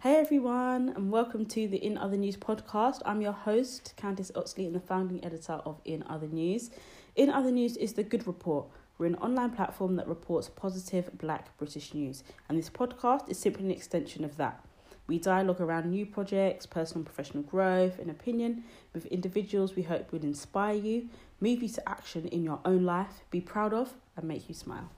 Hey everyone, and welcome to the In Other News podcast. I'm your host, Candice Oxley, and the founding editor of In Other News. In Other News is the Good Report. We're an online platform that reports positive black British news, and this podcast is simply an extension of that. We dialogue around new projects, personal and professional growth, and opinion with individuals we hope will inspire you, move you to action in your own life, be proud of, and make you smile.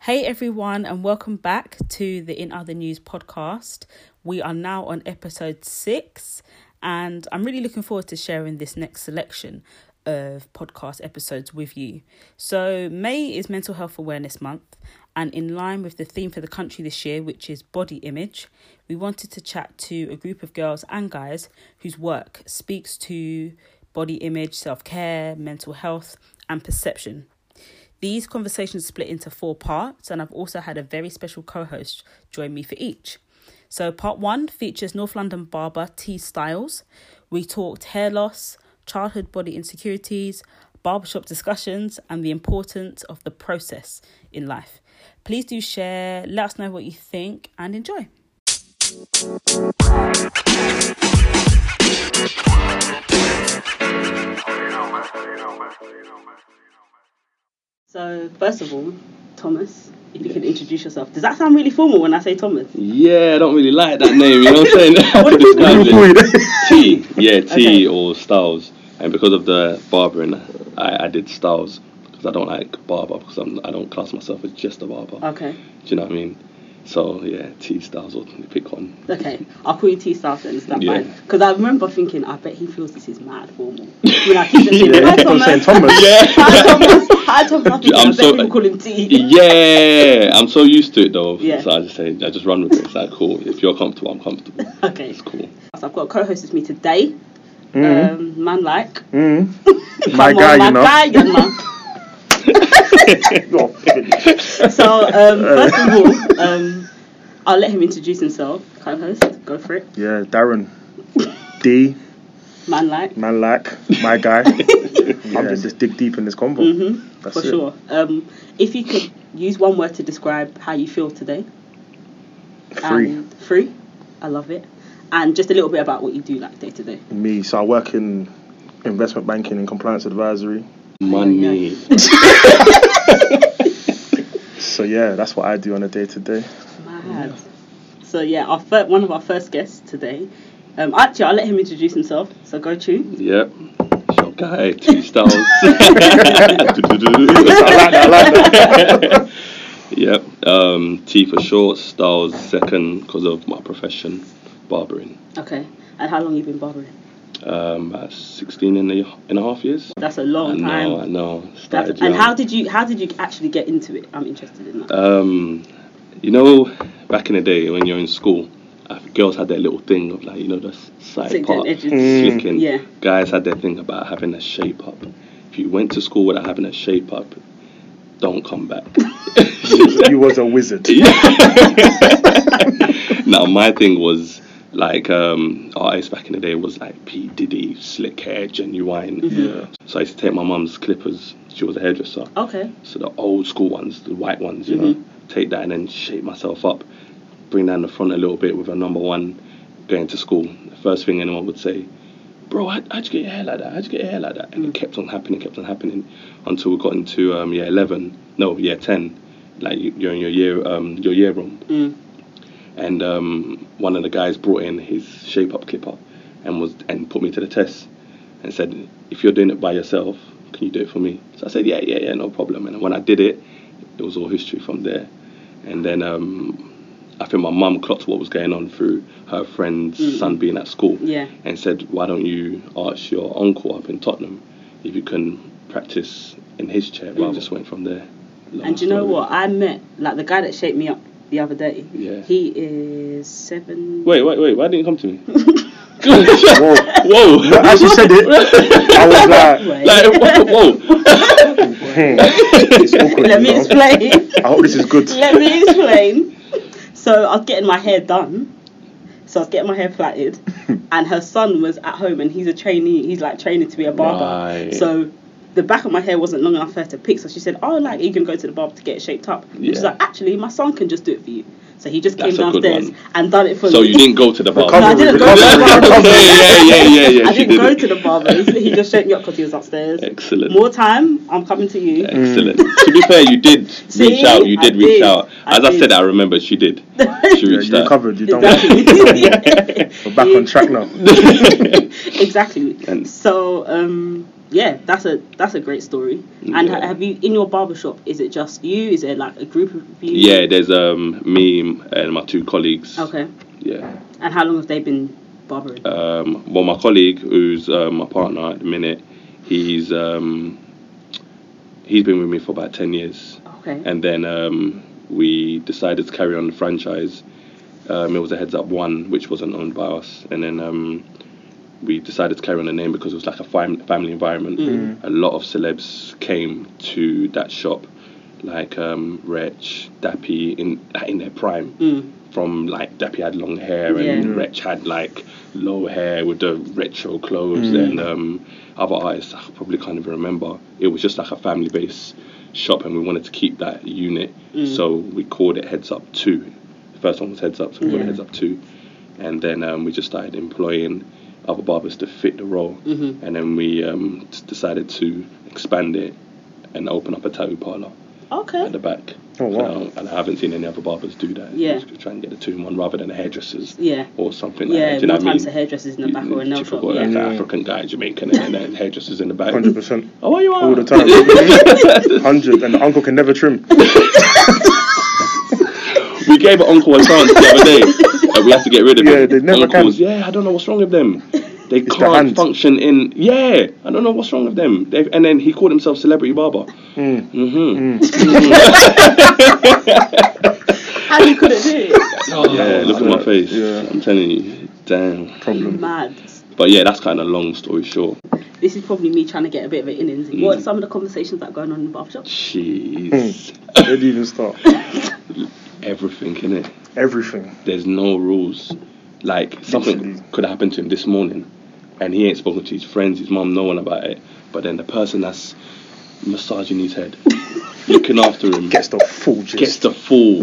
Hey everyone, and welcome back to the In Other News podcast. We are now on episode six, and I'm really looking forward to sharing this next selection of podcast episodes with you. So, May is Mental Health Awareness Month, and in line with the theme for the country this year, which is body image, we wanted to chat to a group of girls and guys whose work speaks to body image, self care, mental health, and perception. These conversations split into four parts, and I've also had a very special co host join me for each. So, part one features North London barber T Styles. We talked hair loss, childhood body insecurities, barbershop discussions, and the importance of the process in life. Please do share, let us know what you think, and enjoy. So, first of all, Thomas, if you could introduce yourself. Does that sound really formal when I say Thomas? Yeah, I don't really like that name. You know what I'm saying? I have to What is describe it. T, yeah, T Okay. or Styles. And because of the barbering, I, I did Styles because I don't like barber because I'm, I don't class myself as just a barber. Okay. Do you know what I mean? So yeah, T Styles or pick one. Okay, I'll call you T Styles then, is that Yeah. fine? Because I remember thinking, I bet he feels this is mad formal. When I keep just saying, hi I'm saying Thomas, Thomas. hi Thomas, hi Thomas, I, think, I I'm bet so- people call him T. Yeah, I'm so used to it though. Yeah. So I just say I just run with it. It's like cool. If you're comfortable, I'm comfortable. Okay, It's cool. so I've got a co-host with me today, um, Mm, man like. mm. My guy, my you know. guy, you know. So um, Uh. first of all, um, I'll let him introduce himself, co-host, go for it, yeah, Darren. D, man like. man like, my guy. I'm just, just dig deep in this combo. Mm-hmm, That's for it. sure. Um, if you could use one word to describe how you feel today, Free. And Um, free. I love it. And just a little bit about what you do like day to day. Me, so I work in investment banking and compliance advisory. Money. So yeah, that's what I do on a day to day. Mad. So yeah, our fir- one of our first guests today. Um, actually, I'll let him introduce himself. So go tune. Yep. It's your guy, T Styles. yep. Um, T for short, Styles second because of my profession, barbering. Okay. And how long you been barbering? Um, at 16 and a, and a half years. That's a I long time. know, I know. That's- Started and young. how did you how did you actually get into it? I'm interested in that. Um, you know, back in the day when you're in school, I think girls had their little thing of like, you know, the s- side Slicked part edges. Mm. slicking. Yeah. Guys had their thing about having a shape up. If you went to school without having a shape up, don't come back. you was a wizard. now my thing was like um, artists back in the day was like P Diddy, slick hair, genuine. Yeah. So I used to take my mum's clippers. She was a hairdresser. Okay. So the old school ones, the white ones, you know, take that and then shape myself up, bring down the front a little bit with a number one going to school. The first thing anyone would say, Bro, how, how'd you get your hair like that? How'd you get your hair like that? And it kept on happening, kept on happening until we got into um, year 11, no, year 10. Like you- you're in your year, um, your year room, Mm. and um, one of the guys brought in his shape up clipper, and was and put me to the test, and said, if you're doing it by yourself, can you do it for me? So I said, yeah, yeah, yeah, no problem. And when I did it, it was all history from there. And then um, I think my mum clocked what was going on through her friend's son being at school, Mm. Yeah. and said, why don't you ask your uncle up in Tottenham if you can practice in his chair? But I just went from there. Long Mm. And do you know story. what? I met like the guy that shaped me up the other day. Yeah. He is seven. Wait, wait, wait! Why didn't you come to me? Whoa. Whoa! As you said it, I was like, Wait, Like, whoa, whoa. hmm, it's awkward. let you me know? explain. I hope this is good. let me explain. So I was getting my hair done. So I was getting my hair plaited, and her son was at home, and he's a trainee. He's like training to be a barber. Right. So the back of my hair wasn't long enough for her to pick. So she said, "Oh, like are you can go to the barber to get it shaped up." And She's Yeah. like, "Actually, my son can just do it for you." So he just That's came a good downstairs one. and done it for So me. you didn't go to the bar. Recovery, I didn't go to the recovery, barber. recovery. yeah, yeah, yeah, yeah. I she didn't go did to it. the barber. He just shaped me up because he was upstairs. Excellent. More time, I'm coming to you. Excellent. to be fair, you did reach See? out. You did I reach did. out. I As I, did. said, I remember she did. She Yeah, reached you out. covered. You don't. Exactly. We're back on track now. exactly. And- so um, yeah, that's a that's a great story. And ha- Yeah. have you in your barber shop? Is it just you? Is it like a group of you? Yeah, there's um me and my two colleagues. Okay. Yeah. And how long have they been barbering? Um, well, my colleague, who's um, my partner at the minute, he's um, he's been with me for about ten years. okay. and then um, we decided to carry on the franchise. Um, it was a heads up one, which wasn't owned by us, and then um, we decided to carry on the name because it was like a fam- family environment. Mm. A lot of celebs came to that shop, like um, Wretch, Dappy, in in their prime. Mm. From like Dappy had long hair and Yeah. Wretch had like low hair with the retro clothes and um, other artists I probably can't even remember. It was just like a family based shop and we wanted to keep that unit, so we called it Heads Up Two. The first one was Heads Up, so we called Yeah. it Heads Up Two, and then um, we just started employing other barbers to fit the role, Mhm. and then we um, just decided to expand it and open up a tattoo parlor at Okay. the back. Oh, wow. And I don't- and I haven't seen any other barbers do that. Yeah. Just try and get a two in one rather than hairdressers Yeah. or something like Yeah. that. uh, Do you know More what I times mean? the hairdressers in the back or a nail shop. Typical, like, Yeah. Yeah. African guy, Jamaican, and then hairdressers in the back. Hundred percent. Oh, what you are? All the time. Hundred, and the uncle can never trim. We gave an uncle a chance the other day, and we had to get rid of Yeah, him. they never can. Uncles, Yeah, I don't know what's wrong with them. They the can't hand. function in. Yeah, I don't know what's wrong with them. They've, and then he called himself celebrity barber. Mm. Mm-hmm. How you couldn't do it? Oh, yeah, look at my face. Yeah. I'm telling you, damn. Problem. Mad. But yeah, that's kind of long story short. This is probably me trying to get a bit of an innings. Mm. What are some of the conversations that are going on in the barber shop? Jeez, Where do you even start? everything in it. Everything. There's no rules. Like something Literally. could happen to him this morning, and he ain't spoken to his friends, his mom, no one about it. But then the person that's massaging his head, looking after him, Gets the full gist. gets the full,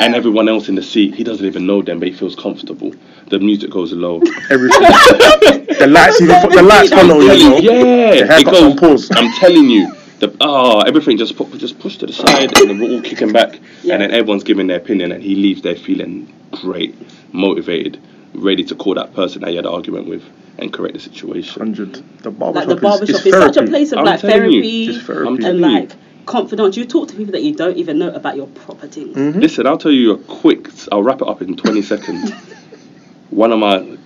and everyone else in the seat, he doesn't even know them, but he feels comfortable. The music goes low. everything. the lights even fo- the lights follow you. you know? The Yeah, haircut's it goes. on pause. I'm telling you, the oh, everything just put, just pushed to the side, and we're all kicking back, Yeah. and then everyone's giving their opinion, and he leaves there feeling great, motivated, ready to call that person that he had an argument with and correct the situation. Hundred. The barber Like shop the barber is, shop is is therapy. such a place of I'm like telling you, therapy. It's therapy. I'm and telling you. like confidence. You talk to people that you don't even know about your proper things. Mm-hmm. Listen, I'll tell you a quick. I'll wrap it up in 20 seconds. One of my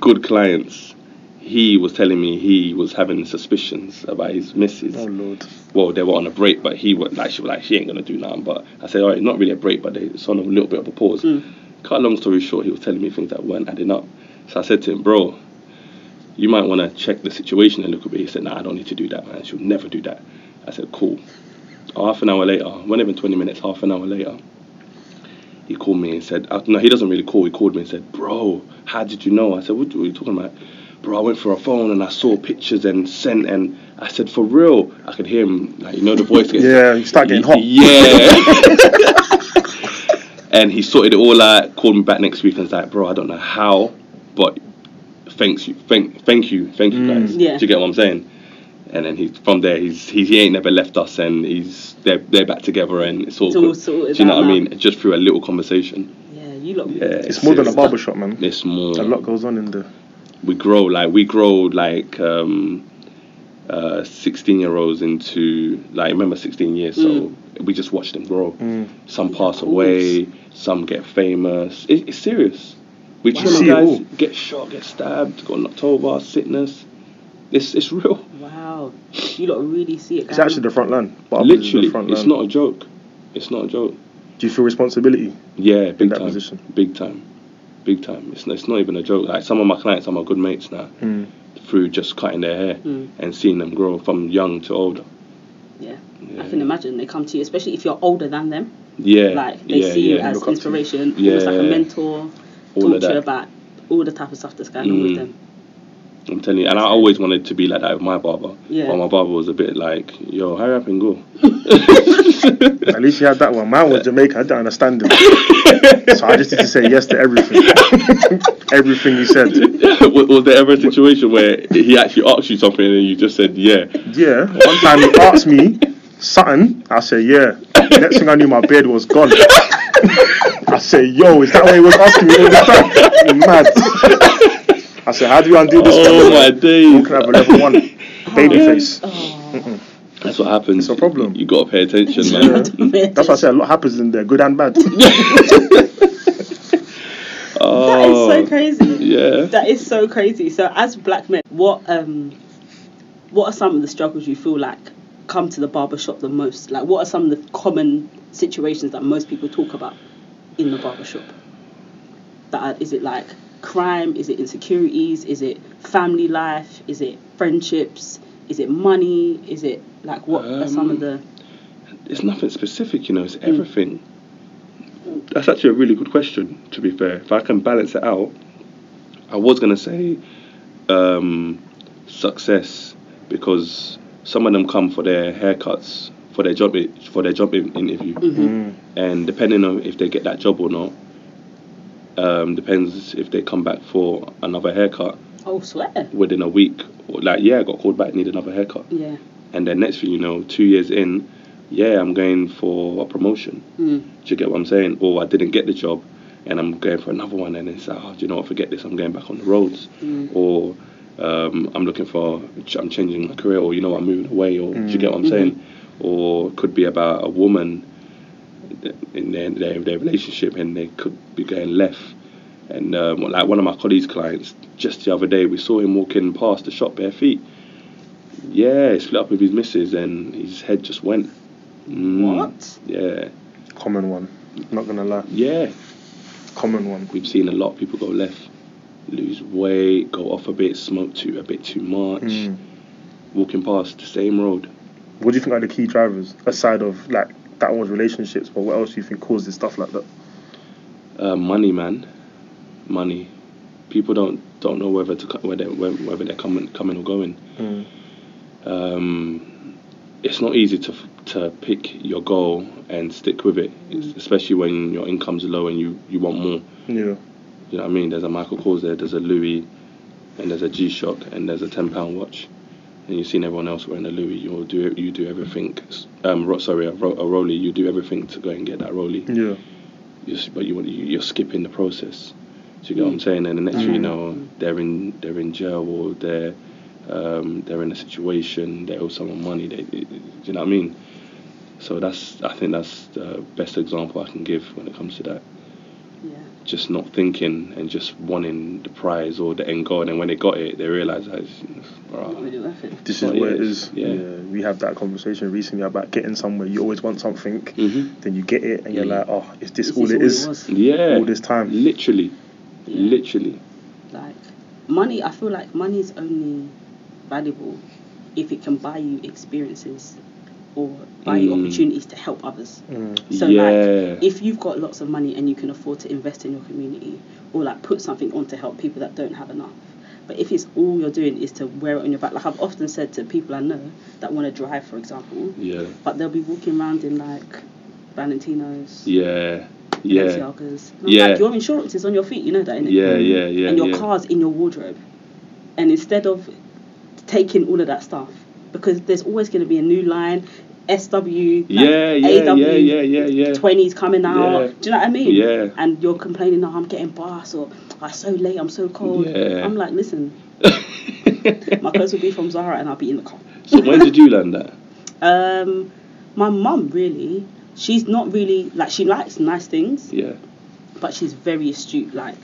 good clients, he was telling me he was having suspicions about his missus. Oh lord. well, they were on a break, but he was like, she was like, she ain't gonna do nothing. But I said, all right, not really a break, but they- it's on a little bit of a pause. Cut a long story short, he was telling me things that weren't adding up. So I said to him, bro, you might want to check the situation a little bit. He said, nah, I don't need to do that, man. She'll never do that. I said, cool. Half an hour later, not even 20 minutes, half an hour later, he called me and said, uh, no, he doesn't really call. He called me and said, bro, how did you know? I said, what, what are you talking about? Bro, I went for a phone and I saw pictures and sent, and I said, for real, I could hear him, like, you know, the voice gets Yeah, you start getting hot. yeah. and he sorted it all out, called me back next week and was like, bro, I don't know how, but thanks you, thank, thank you, thank you guys. Yeah. Do you get what I'm saying? And then he's from there. He's, he's he ain't never left us, and he's they're they're back together, and it's all. It's all good. sorted Do you know out what I now. mean? Just through a little conversation. Yeah, you look. Yeah, It's more than a it's- barber shop, man. It's more. A lot goes on in there. We grow like we grow like um, uh, sixteen year olds into like remember sixteen years. Mm. So we just watch them grow. Mm. Some pass away. Some get famous. It, it's serious. We Wow. oh. chilling See it guys all. get shot, get stabbed, got knocked over, sickness. It's it's real. Wow, you lot really see it. It's going actually on. the front line. Barbers is Literally, the front it's line. not a joke. It's not a joke. Do you feel responsibility? Yeah, big that time. position. Big time. Big time. It's, it's not even a joke. Like some of my clients are my good mates now Mm. through just cutting their hair Mm. and seeing them grow from young to older. Yeah. Yeah. I can imagine they come to you, especially if you're older than them. Yeah. Like they yeah, see you yeah. as Look up to you. inspiration, almost like a Yeah. mentor. all talk to of you that. about all the type of stuff that's going on with Mm. them. I'm telling you, and I always wanted to be like that with my barber. Yeah. But my barber was a bit like, "Yo, hurry up and go." At least you had that one. Mine was Jamaica. I didn't understand him. so I just need to say yes to everything. everything you said. was, was there ever a situation where he actually asked you something and you just said, "Yeah"? Yeah. One time he asked me something. I said, yeah. Next thing I knew, my beard was gone. I said, yo, is that what he was asking me all the time? Mad. I said, how do you undo this? Oh my Oh. days! Can I have a level one? Baby face. That's what happens. It's a problem. You gotta pay attention, man. That's why I said a lot happens in there, good and bad. That is Oh, so crazy. yeah. That is so crazy. So, as black men, what um, what are some of the struggles you feel like come to the barber shop the most? Like, what are some of the common situations that most people talk about in the barber shop? That are, is it like crime? Is it insecurities? Is it family life? Is it friendships? Is it money? Is it like what are some of the Um, It's nothing specific, you know. It's everything. That's actually a really good question. To be fair, if I can balance it out, I was gonna say um, success because some of them come for their haircuts, for their job, i- for their job in- interview, and depending on if they get that job or not, um, depends if they come back for another haircut oh swear? within a week. Or like, yeah, I got called back, need another haircut. Yeah. and then next thing you know, two years in, yeah, I'm going for a promotion. Mm. Do you get what I'm saying? Or I didn't get the job, and I'm going for another one, and it's oh, do you know what? Forget this. I'm going back on the roads, or um, I'm looking for, I'm changing my career, or you know, what, I'm moving away, or do you get what I'm saying? Or it could be about a woman in their, their their relationship, and they could be going left. And um, like one of my colleagues' clients, just the other day, we saw him walking past the shop bare feet. Yeah, he split up with his missus, and his head just went. Hmm. Mm. What? Yeah, Common one. Not gonna lie. yeah. Common one. We've seen a lot of people go left, lose weight, go off a bit, smoke too a bit too much, Mm. walking past the same road. What do you think are the key drivers aside of like that was relationships, but what else do you think causes stuff like that? Uh, money, man, money. People don't don't know whether to co- whether whether they're coming coming or going. um, it's not easy to f- to pick your goal and stick with it, es- especially when your income's low and you, you want more. Yeah. You know what I mean? There's a Michael Kors there, there's a Louis, and there's a G Shock, and there's a ten pound watch, and you've seen everyone else wearing a Louis. You do you do everything. s- Um, ro- sorry, a, ro- a Rolly. You do everything to go and get that Rolly. Yeah. You're, s- but you want- you- you're skipping the process. Do you get what Mm. I'm saying? And the next thing you know, they're in they're in jail or they're um, they're in a situation. They owe someone money. They, do you know what I mean? So that's I think that's the best example I can give when it comes to that. Yeah. Just not thinking and just wanting the prize or the end goal. And then when they got it, they realised that it's, Not alright. really worth it. This Well, is it where it is, is. yeah. We have that conversation recently about getting somewhere. You always want something, Mm-hmm. Mhm. then you get it, and you're Yeah. like, oh, is this This all is it all it is? was. yeah, All this time. literally, literally. like money i feel like money is only valuable if it can buy you experiences or buy you Mm. opportunities to help others Mm. so Yeah. like if you've got lots of money and you can afford to invest in your community or like put something on to help people that don't have enough but if it's all you're doing is to wear it on your back like i've often said to people i know that want to drive for example Yeah, but they'll be walking around in like valentinos yeah, yeah, Balenciagas. Yeah. Like your insurance is on your feet, you know that, innit? yeah, yeah, yeah. and your yeah. car's in your wardrobe. And instead of taking all of that stuff, because there's always going to be a new line, SW, like, Yeah, yeah, AW, yeah, yeah, yeah, yeah. 20s coming out. Yeah. Do you know what I mean? Yeah. And you're complaining, oh, I'm getting bars, or I'm so late, I'm so cold. Yeah. I'm like, listen, my clothes will be from Zara and I'll be in the car. So when did you learn that? Um, my mum, really, she's not really, like, she likes nice things. Yeah. but she's very astute. Like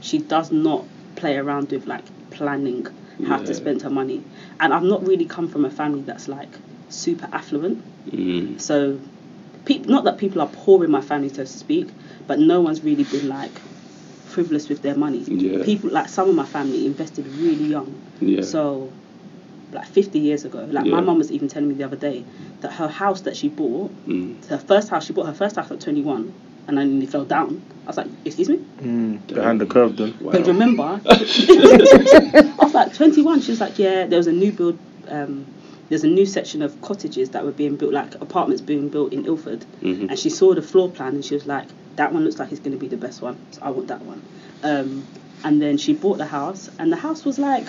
she does not play around with like planning how Yeah. to spend her money. And I've not really come from a family that's like super affluent. Mm. So, peop not that people are poor in my family, so to speak, but no one's really been like frivolous with their money. Yeah. People like some of my family invested really young. Yeah. So, like 50 years ago, like Yeah. my mum was even telling me the other day that her house that she bought Mm. her first house she bought her first house at 21 and I nearly fell down. I was like, excuse me? Mm, behind the curve then. Wow. But remember, I was like 21. She was like, yeah, there was a new build. Um, there's a new section of cottages that were being built, like apartments being built in Ilford. Mhm. And she saw the floor plan and she was like, that one looks like it's going to be the best one. So I want that one. Um, and then she bought the house, and the house was like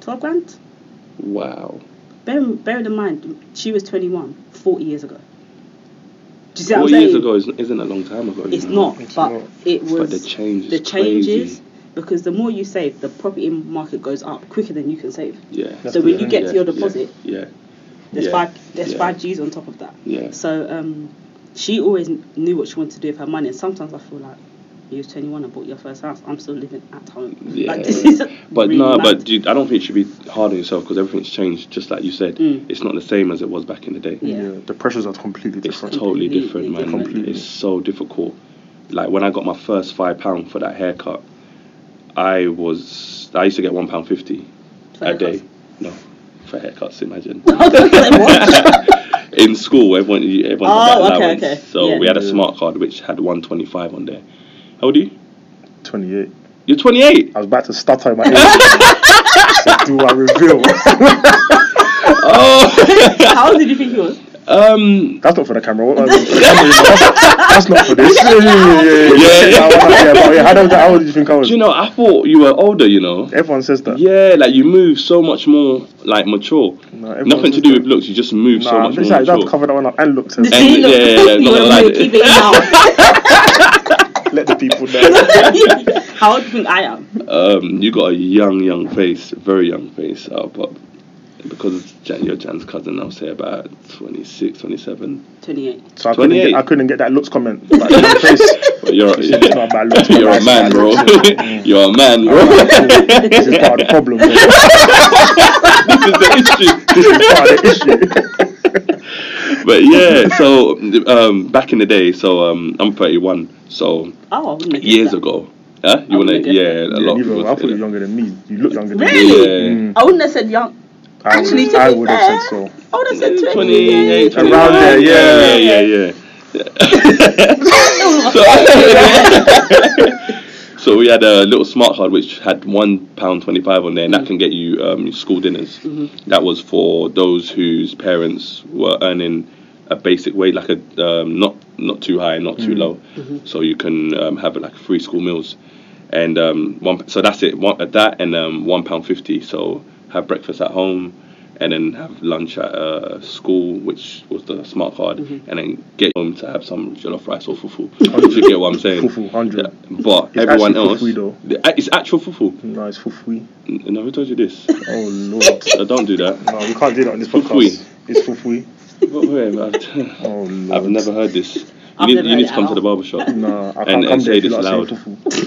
12 grand. Wow. Bear, bear in mind, she was 21 40 years ago. Do you see what Four I'm years saying? ago is, isn't a long time ago. you It's know. not, It's but not. it was But the change is the changes crazy. because the more you save, the property market goes up quicker than you can save. Yeah. That's so when you good, get yeah, to your yeah, deposit, Yeah. there's yeah, five there's yeah. five G's on top of that. Yeah. So um, she always kn- knew what she wanted to do with her money, and sometimes I feel like you was 21 and bought your first house. I'm still living at home. Yeah. Like this is But really no, mad. but dude, I don't think you should be hard on yourself because everything's changed. Just like you said, Mm. it's not the same as it was back in the day. Yeah. The pressures are completely It's different. totally Completely different, man. Completely. It's so difficult. Like when I got my first five pound for that haircut, I was I used to get one pound fifty For a haircuts. day. No, for haircuts, imagine. What? in school, everyone everyone had Oh, that okay, allowance. okay. So Yeah. we had a Yeah. smart card which had one twenty five on there. How old are you? 28. You're twenty eight. I was about to stutter in my ear. So do I reveal? How old did you think he was? Oh! Um, That's not for the camera. What, that's not for this. Yeah, yeah, yeah. Yeah, yeah. I was like, yeah, but wait, how, old, how old did you think I was? do you know? I thought you were older. You know. Everyone says that. Yeah, like you move so much more like mature. No, everyone Nothing to says do that. with looks. You just move so Nah, much more this I don't mature. cover that one up and look to Did And- he look- yeah, yeah, yeah, you not wanna gonna really lie. keep it in now. let the people know. How old do you think I am? Um, you got a young, young face, very young face. Uh, but because Jan, you're Jan's cousin, I'll say about 26, 27. 28. So I couldn't, 28. get, I couldn't get that looks comment. Like, in the face. But you're, She said it's not about looks. you're a it's about Mm. man, bro. looks. you're a man, bro. Uh-huh. this is part of the problem. bro. This this is the issue. is part of the issue. But yeah, so um, back in the day, so um, I'm 31. So Oh, I wouldn't have guessed years that. ago, huh? You I wanna? wouldn't Yeah, have a Yeah, lot of neither- people. I say thought you were that. younger than me. You look younger than me. Really? Yeah. Mm, I wouldn't have said young. I would- Actually, to I be would have fair, said so. I would have said 28. 28, Around 29, there, yeah, yeah. yeah, yeah. so, so we had a little smart card which had one pound twenty-five on there, and that can get you um, school dinners. That was for those whose parents were earning a basic wage, like a um, not not too high, not too low, so you can um, have like free school meals. And um, one, so that's it. One, that and um, one pound fifty. So have breakfast at home, and then have lunch at uh, school, which was the smart card, Mm-hmm. and then get home to have some jollof rice or fufu. if you get what I'm saying. Fufu, 100. But It's everyone actually else, fufu though. The- it's actual fufu. No, it's fufui. N- No, who told you this? Oh, Lord. Uh, don't do that. No, we can't do that on this Fufui. podcast. It's fufui. Wait, wait, I've, Oh, Lord. I've never heard this. You I've need, never you heard need it to at come to all. the barber shop. No, I can't and come say there if you this lot are loud. saying fufu.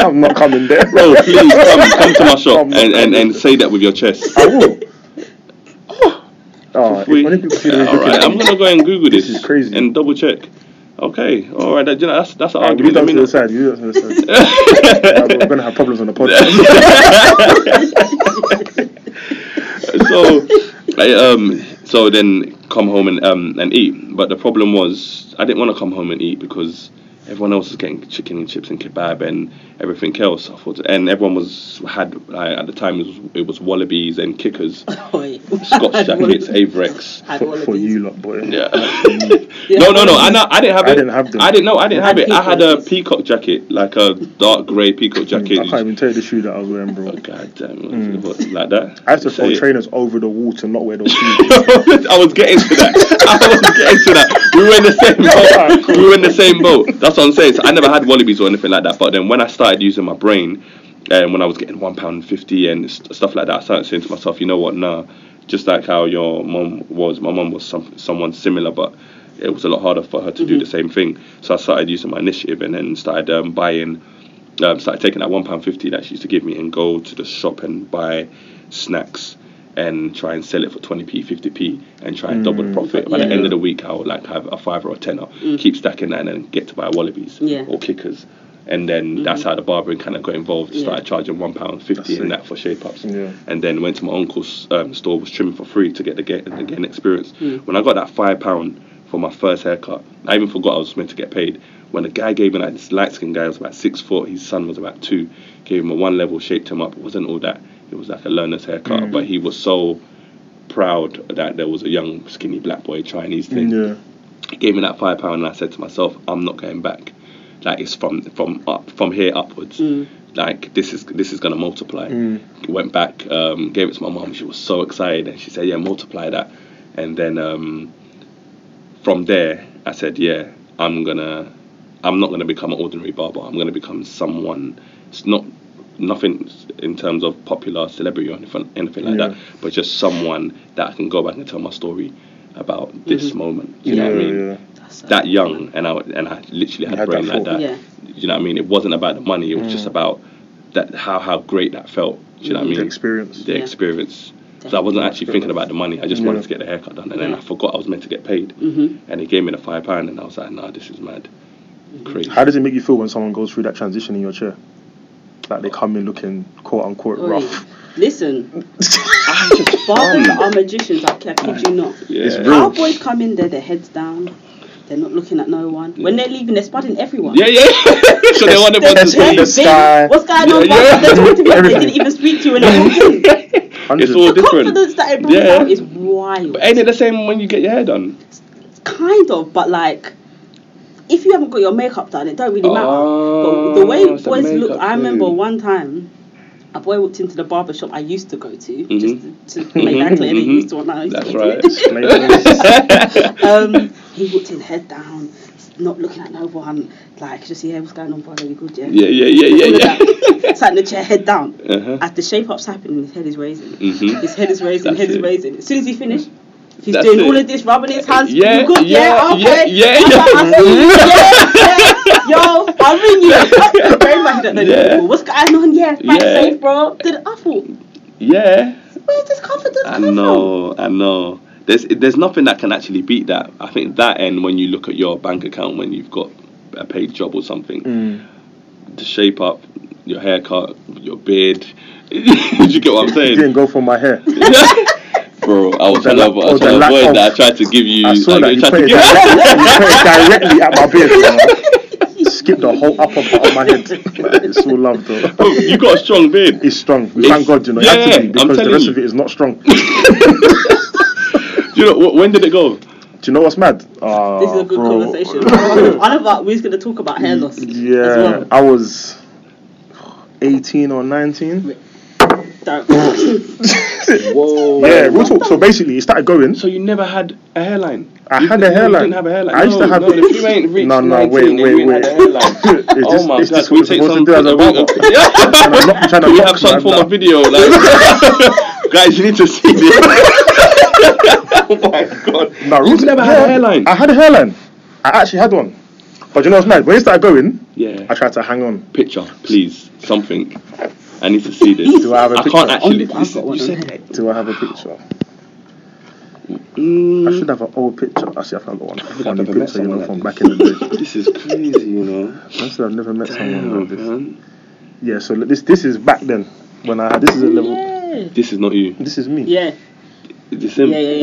I'm not coming there. Bro, Oh, please come, come to my shop I'm not and, and, coming. and say that with your chest. I will. Oh, if We- only people see the way Uh, all right, I'm people gonna go and Google this, is crazy. and double check. Okay, all right, that, you know, that's that's an Alright, Ah, you argument. don't Let me to know. the side. You don't to the side. Yeah, We're going to have problems on the podcast. so I, um so then come home and um and eat but the problem was i didn't want to come home and eat because everyone else was getting chicken and chips and kebab and everything else I thought, and everyone was had like, at the time it was, it was wallabies and kickers Oi. scotch jackets I avrex had all for, of for these. you lot, boy. yeah. Yeah. no, no, no. I, no, I didn't have it. I didn't have them. I didn't know. I didn't I have had it. I had a peacocks. peacock jacket, like a dark grey peacock Mm, I jacket. can't even tell you the shoe that I was wearing, bro. God damn, what- like that. I used to Say throw it. trainers over the wall to not wear those shoes. I was getting to that. I was getting to that. We were in the same boat. We were in the same boat. That's what I'm saying. So I never had wallabies or anything like that. But then when I started using my brain, and when I was getting one pound fifty and st- stuff like that, I started saying to myself, you know what? Nah. Just like how your mom was, my mom was some, someone similar, but it was a lot harder for her to do the same thing. So I started using my initiative and then started um, buying um, started taking that one pound fifty that she used to give me and go to the shop and buy snacks and try and sell it for twenty p, fifty p, and try and double the profit. By the Mm. Yeah. Mm. end of the week, I would like have a five or a tenner, keep stacking that, and then get to buy wallabies Yeah. Mm-hmm. or kickers And then that's how the barbering kind of got involved. Yeah. Started charging one pound fifty That's and it. that for shape ups. Yeah. And then went to my uncle's um, store, was trimming for free to get the get the getting experience. When I got that five pound for my first haircut, I even forgot I was meant to get paid. When the guy gave me like this light skinned guy was about six foot, his son was about two, gave him a one level, shaped him up. It wasn't all that. It was like a learner's haircut, Hmm. but he was so proud that there was a young skinny black boy trying his thing Yeah. he gave me that five pound and I said to myself, I'm not going back. Like it's from from up from here upwards. Mm. Like this is this is gonna multiply. Went back, um, gave it to my mum. She was so excited, and she said, "Yeah, multiply that." And then um, from there, I said, "Yeah, I'm gonna, I'm not gonna become an ordinary barber. I'm gonna become someone. It's not nothing in terms of popular celebrity or anything, anything like Yeah. that, but just someone that I can go back and tell my story about this moment. Do you Mm-hmm. yeah, know what I mean? yeah. That's, uh, that young and I and I literally had, had brain that like that. thought. Yeah. You know what I mean? It wasn't about the money. It was just about that how how great that felt. Do you know what I mean? Mm. The experience. The Yeah. experience. So I wasn't actually thinking about the money. I just wanted Yeah. to get the haircut done, and then Yeah. I forgot I was meant to get paid. Mm-hmm. And he gave me the five pound, and I was like, "Nah, this is mad, crazy." How does it make you feel when someone goes through that transition in your chair? Like they come in looking quote unquote Oi, rough. Listen, barbers are magicians. I kid you not. Yeah. It's real. Our boys come in there, their heads down. They're not looking at no one. When they're leaving, they're spotting everyone. Yeah, yeah. so they want They're That's in to the just sky. big. What's going on? Yeah, bro? yeah. They talk to me. They Everything. didn't even speak to you when I walked in. It's 100. all The different. confidence that it brings Yeah. out is wild. Ain't it the same when you get your hair done? Kind of, but like, if you haven't got your makeup done, it don't really matter. Oh, but the way it's the boys look, makeup I remember thing. one time. A boy walked into the barber shop I used to go to, just to, to make Mhm, that clear. They mhm. used to want now. That's right. um, he walked in head down, not looking at no one, like just yeah, what's going on, brother? You good, yeah? Yeah, yeah, yeah, All of yeah, yeah. that. Sat in the chair, head down. Uh-huh. As the shape up's happening, his head is raising. Mhm. His head is raising, That's head is it. raising. As soon as he finished, he's That's doing it. all of this, rubbing his hands. Yeah, you good? yeah, Yeah, okay. yeah, yeah, That's yeah. what I see. Yeah, yeah. Yo, I'll ring you. Very much don't know these Yeah. people. What's going on? Yeah, fight Yeah. safe, bro. Did I thought, Yeah. where's this confidence I coming from? know, I know. There's there's nothing that can actually beat that. I think that end when you look at your bank account when you've got a paid job or something, Mm. the shape up, your haircut, your beard. you get what I'm You saying, didn't go for my hair. bro? I was The trying to, la- I was or the trying to lack avoid of- that. I tried to give you. I saw like, that I you tried put, to it give- directly, you put it directly at my beard. You know? Skip the whole upper part of my head. Like, it's all love though. Bro, you got a strong beard. It's strong. We It's- thank God, you know, you have yeah, to be I'm because the telling rest you. of it is not strong. Do You know wh- when did it go? you know what's mad? Uh, This is a good conversation. Oliver, we're just going to talk about hair loss. Yeah, As well. I was 18 or 19. Don't- Whoa. Yeah, real talk. So basically, it started going. So you never had a hairline? I You had didn't- a hairline. You didn't have a hairline. I used No, to have no, it. if you ain't reached No, no, 19 wait, and you wait, ain't wait. had a hairline. It's oh just- my it's god, just can we what take we're some? supposed to do as a barber. And I'm not trying to Can we knock have you, some I'm form not- of video? Like, guys, you need to see this. oh my god! No, real You've talk, never had yeah, a hairline. I had a hairline. I actually had one. But you know what's mad? When it started going, yeah. I tried to hang on. picture, please, something. I need to see this. Do I have a can't picture? actually. I've got one you on said here. Do I have a picture? I Mm, should have an old picture. Actually, I found one. Funny I've never met picture, you know, someone from like back in the day. this is crazy, you know. Honestly, I've never met someone Damn, like this. man. Yeah, so look, this this is back then when I had this is a level. This is not you. This is me. Yeah, This is him. yeah, yeah, yeah.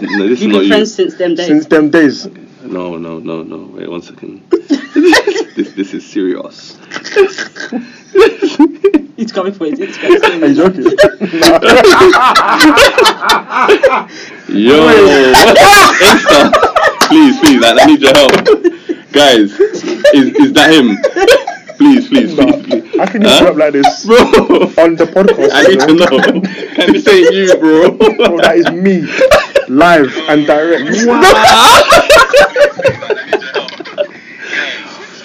This is, no, this is You've not been you. friends since them days. Since them days, No, no, no, no. Wait one second. this, this is serious. He's coming for his Instagram. are you joking? Yo, Insta, please, please, I, I need your help, guys. Is is that him? Please, please, please, please. I can you Huh? show up like this bro. on the podcast? I need you to know. Can this ain't you, bro? Bro, that is me, live and direct.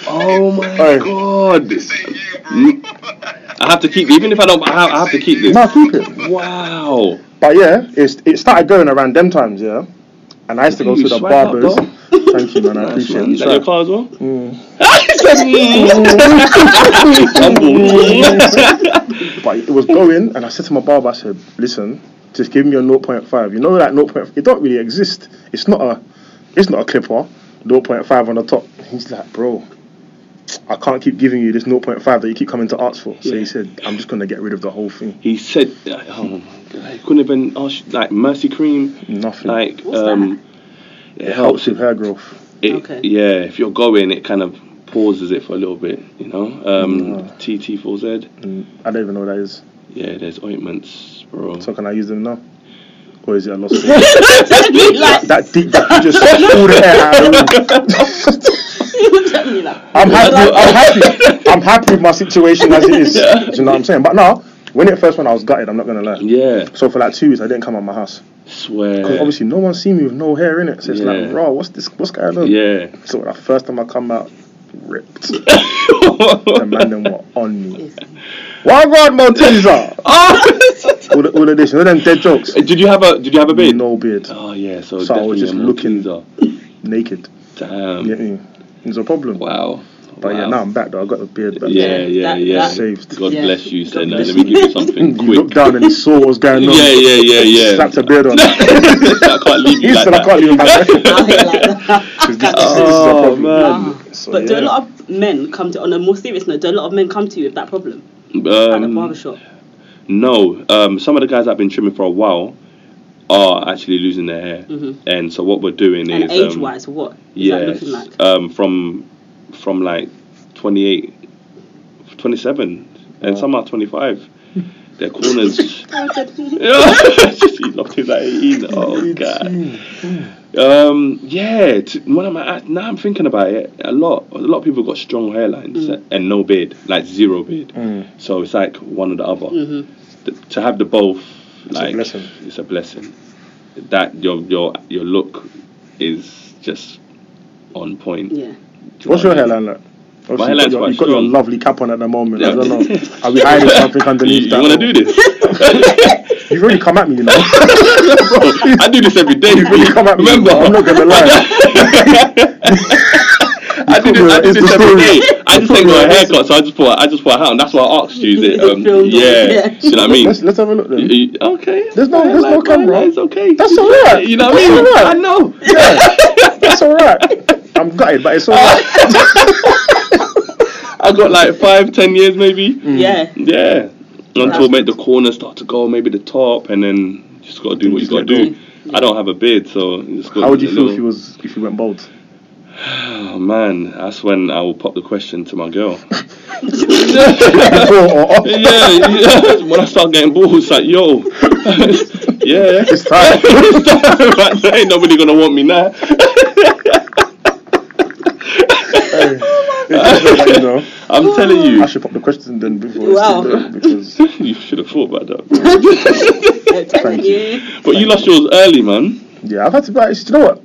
oh my Hey. god! I have to keep, even if I don't, I have, I have to keep this. No, keep it. Wow. But yeah, it's, it started going around them times, yeah. And I used to go You to the swag up, barbers. Thank you, man. I Nice, appreciate man. you. Is that your Sure. car as well? "Mm." Mm. Humble. But it was going, and I said to my barber, I said, "Listen, just give me a 0.5. You know that 0.5. It don't really exist. It's not a, it's not a clipper. 0.5 on the top." He's like, "Bro, I can't keep giving you this 0.5 that you keep coming to ask for. So Yeah. he said, I'm just going to get rid of the whole thing. He said, like, oh my god, he couldn't even ask like mercy cream, Nothing. like What's um, it helps. Helps with hair growth. It, Okay. Yeah, if you're going, it kind of pauses it for a little bit, you know. Um, Yeah. TT4Z. Mm, I don't even know what that is. Yeah, there's ointments, bro. So can I use them now? Or is it a lost cause? like, that deep, that you just all the air out of the room. you looked at me like, I'm happy. I'm happy. I'm happy with my situation as it is. Do you know what I'm saying? But now, when it first went, I was gutted. I'm not gonna lie. Yeah, So for like two weeks, I didn't come out my house. swear. 'Cause obviously, no one seen me with no hair in it. So it's Yeah. like, bro, what's this? What's going on? Yeah. So the first time I come out, ripped. the man them were on me. Why God no teaser? all, the, all of this, all them dead jokes. did you have a Did you have a beard? No beard, Oh yeah, so, So I definitely was just a looking- Malteser. naked. Damn. You get me? It's a problem. Wow. But yeah, Wow. now I'm back though. I got the beard back. Yeah, yeah, That- yeah. that- Saved. God Yeah. bless you, said. God Now, bless let me give you something You looked quick. down and saw what was going on. Yeah, yeah, yeah, yeah. Slapped a beard on. I can't leave you He like said, that. I can't leave him back. out here like that. This is- this is a Oh, problem. man. So, Um, But do yeah. a lot of men come to on a more serious note? Do a lot of men come to you with that problem at the Um, barbershop? No, um, some of the guys I've been trimming for a while are actually losing their hair, and so what we're doing Mm-hmm. And is um, age-wise, what is that yes, looking like? um, from from like 28, 27, and some are twenty five. Their corners. he locked his at 18. Oh god. Um, yeah. T- when I'm at, now I'm thinking about it a lot. A lot of people got strong hairlines Mm. and no beard, like zero beard. So it's like one or the other. Th- to have the both, Mm-hmm. a like blessing. it's a blessing. That your your your look is just on point. Yeah. What's your hairline like? Obviously, My hairline's you've got your- quite You've got your strong. lovely cap on at the moment. I Yeah. don't know. Are we hiding something You, underneath you that? want to do this? You've already come at me, you know. I do this every day. You've already come at me. Remember, I'm not gonna lie. I do this, I do It's this a every day. story. I just take my haircut, so I just put I just put a hat on. That's why I asked you. Is it? Um, Filmed on, yeah. yeah. Do you know what I mean? Let's let's have a look then. You- Okay. There's no- there's no Like, camera. like, It's okay. That's alright. You know what I That's mean? alright. I know. That's all right. I'm gutted, but it's all right. I got like five, ten years maybe. Mm. Yeah. Yeah. Until make the corner start to go, maybe the top, and then just gotta do what you Just gotta let do. I don't have a beard, so you just got How would you feel if you was if you went bald? Oh man, that's when I will pop the question to my girl. Before or after? yeah, yeah. When I start getting balls, like yo, yeah, It's time. It's time, right? There ain't nobody gonna want me now. you know, I'm telling I you, should pop the question then before it's Wow. too late because you should have thought about that. Uh, thank you. But you lost yours early, man. yeah, I've had to. But it's- do you know what?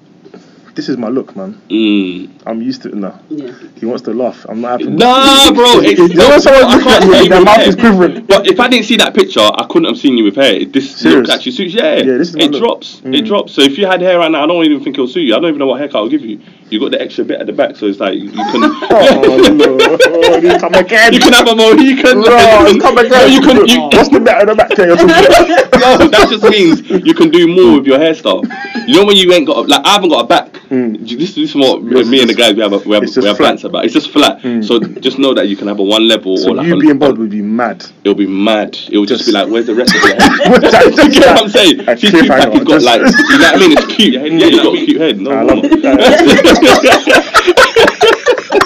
This is my look, man. Mm. I'm used to it now. Yeah. He wants to laugh. I'm not happy. Nah, bro. It's, You know when someone's I looking can't at me say and their with mouth hair. is quivering? But if I didn't see that picture, I couldn't have seen you with hair. It- This Serious? look actually suits. Yeah, Yeah, this is my it look. drops. It Mm. drops. So if you had hair right now, I don't even think it'll suit you. I don't even know what haircut I'll give you. You got the extra bit at the back, so it's like you can Oh no! You come again. you can have a Mohican. Bro, you come again. you can. You, What's the matter with the back there? You're talking about? no, that just means you can do more with your hairstyle. You know when you ain't got a, like I haven't got a back. This, this is what Yours me is and the Hmm. just- guys we have a, we have, it's just we have flat. Hmm. rants about. It's just flat. So just know that you can have a one level So or like you a- being bald would be mad. It'll be mad. It'll just, Just- be like, where's the rest of your head? What Do you know what I'm saying? A See, cute cliffhanger, Paki's got just- like, you know what I mean? It's cute. Yeah, you got a cute head. No, I no. love it. Uh,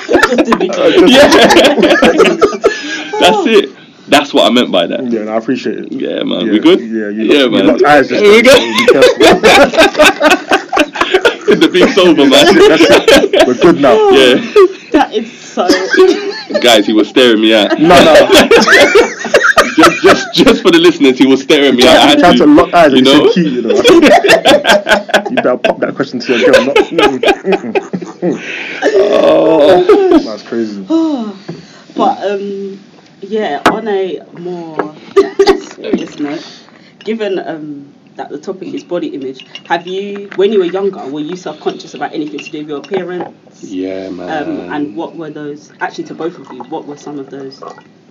Yeah. That's it. That's what I meant by that. yeah, no, I appreciate it. Yeah, man. Hmm. Yeah, we good? yeah, you yeah, look- you man. looked eyes just we now, good? the big sober, man. That's it. We're good now. Yeah. That is so. Guys, he was staring me out. No, no. Just, just, just for the listeners, he was staring me out. I I had tried to- to lock eyes and you you know? said cute, you know. you better pop that question to your girl. Not, mm, mm, mm, Oh. mm. That's crazy. But um, yeah. On a more serious note, given um that the topic is body image, have you, when you were younger, were you self-conscious about anything to do with your appearance? Yeah, Um, man. and what were those, actually to both of you, what were some of those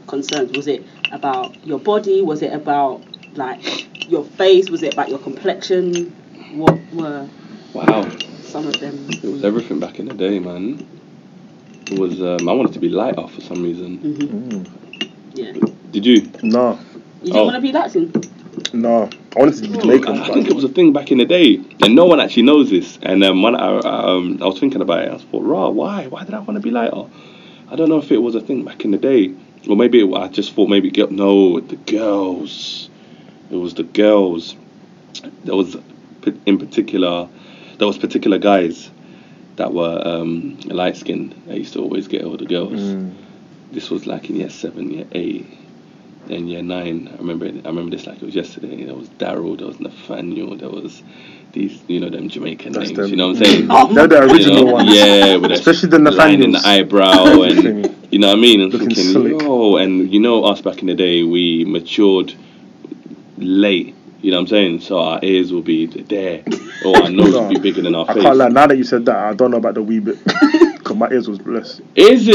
concerns? Was it about your body? Was it about like your face? Was it about your complexion? What were wow. some of them? It was everything back in the day, man. was um, I wanted to be lighter for some reason. hmm Yeah. Did you? No, You don't Oh. want to be Latin? no. I wanted to be Jamaican. I think it was a thing back in the day, and no one actually knows this. And um, when I, um, I was thinking about it, I thought, "Raw, why? Why did I want to be lighter?" I don't know if it was a thing back in the day, or maybe it, I just thought maybe girl, no, the girls. It was the girls. There was, p- in particular, there was particular guys that were um, light skinned. They used to always get all the girls Mm. this was like in year seven, year eight, and year nine. I remember it, I remember this like it was yesterday. There was Daryl, there was Nathaniel, there was these, you know, them Jamaican That's names. them. You know what I'm saying? Oh, They're the You know, original ones. Yeah, with Especially the the line in the Nathaniels. eyebrow and Everything. you know what I mean. And Looking thinking, slick. yo, and you know us back in the day, we matured late. You know what I'm saying? So our ears will be there, or our nose will be bigger than our I face. can't lie. Now that you said that, I don't know about the wee bit. Cause my ears was blessed. Is Mm.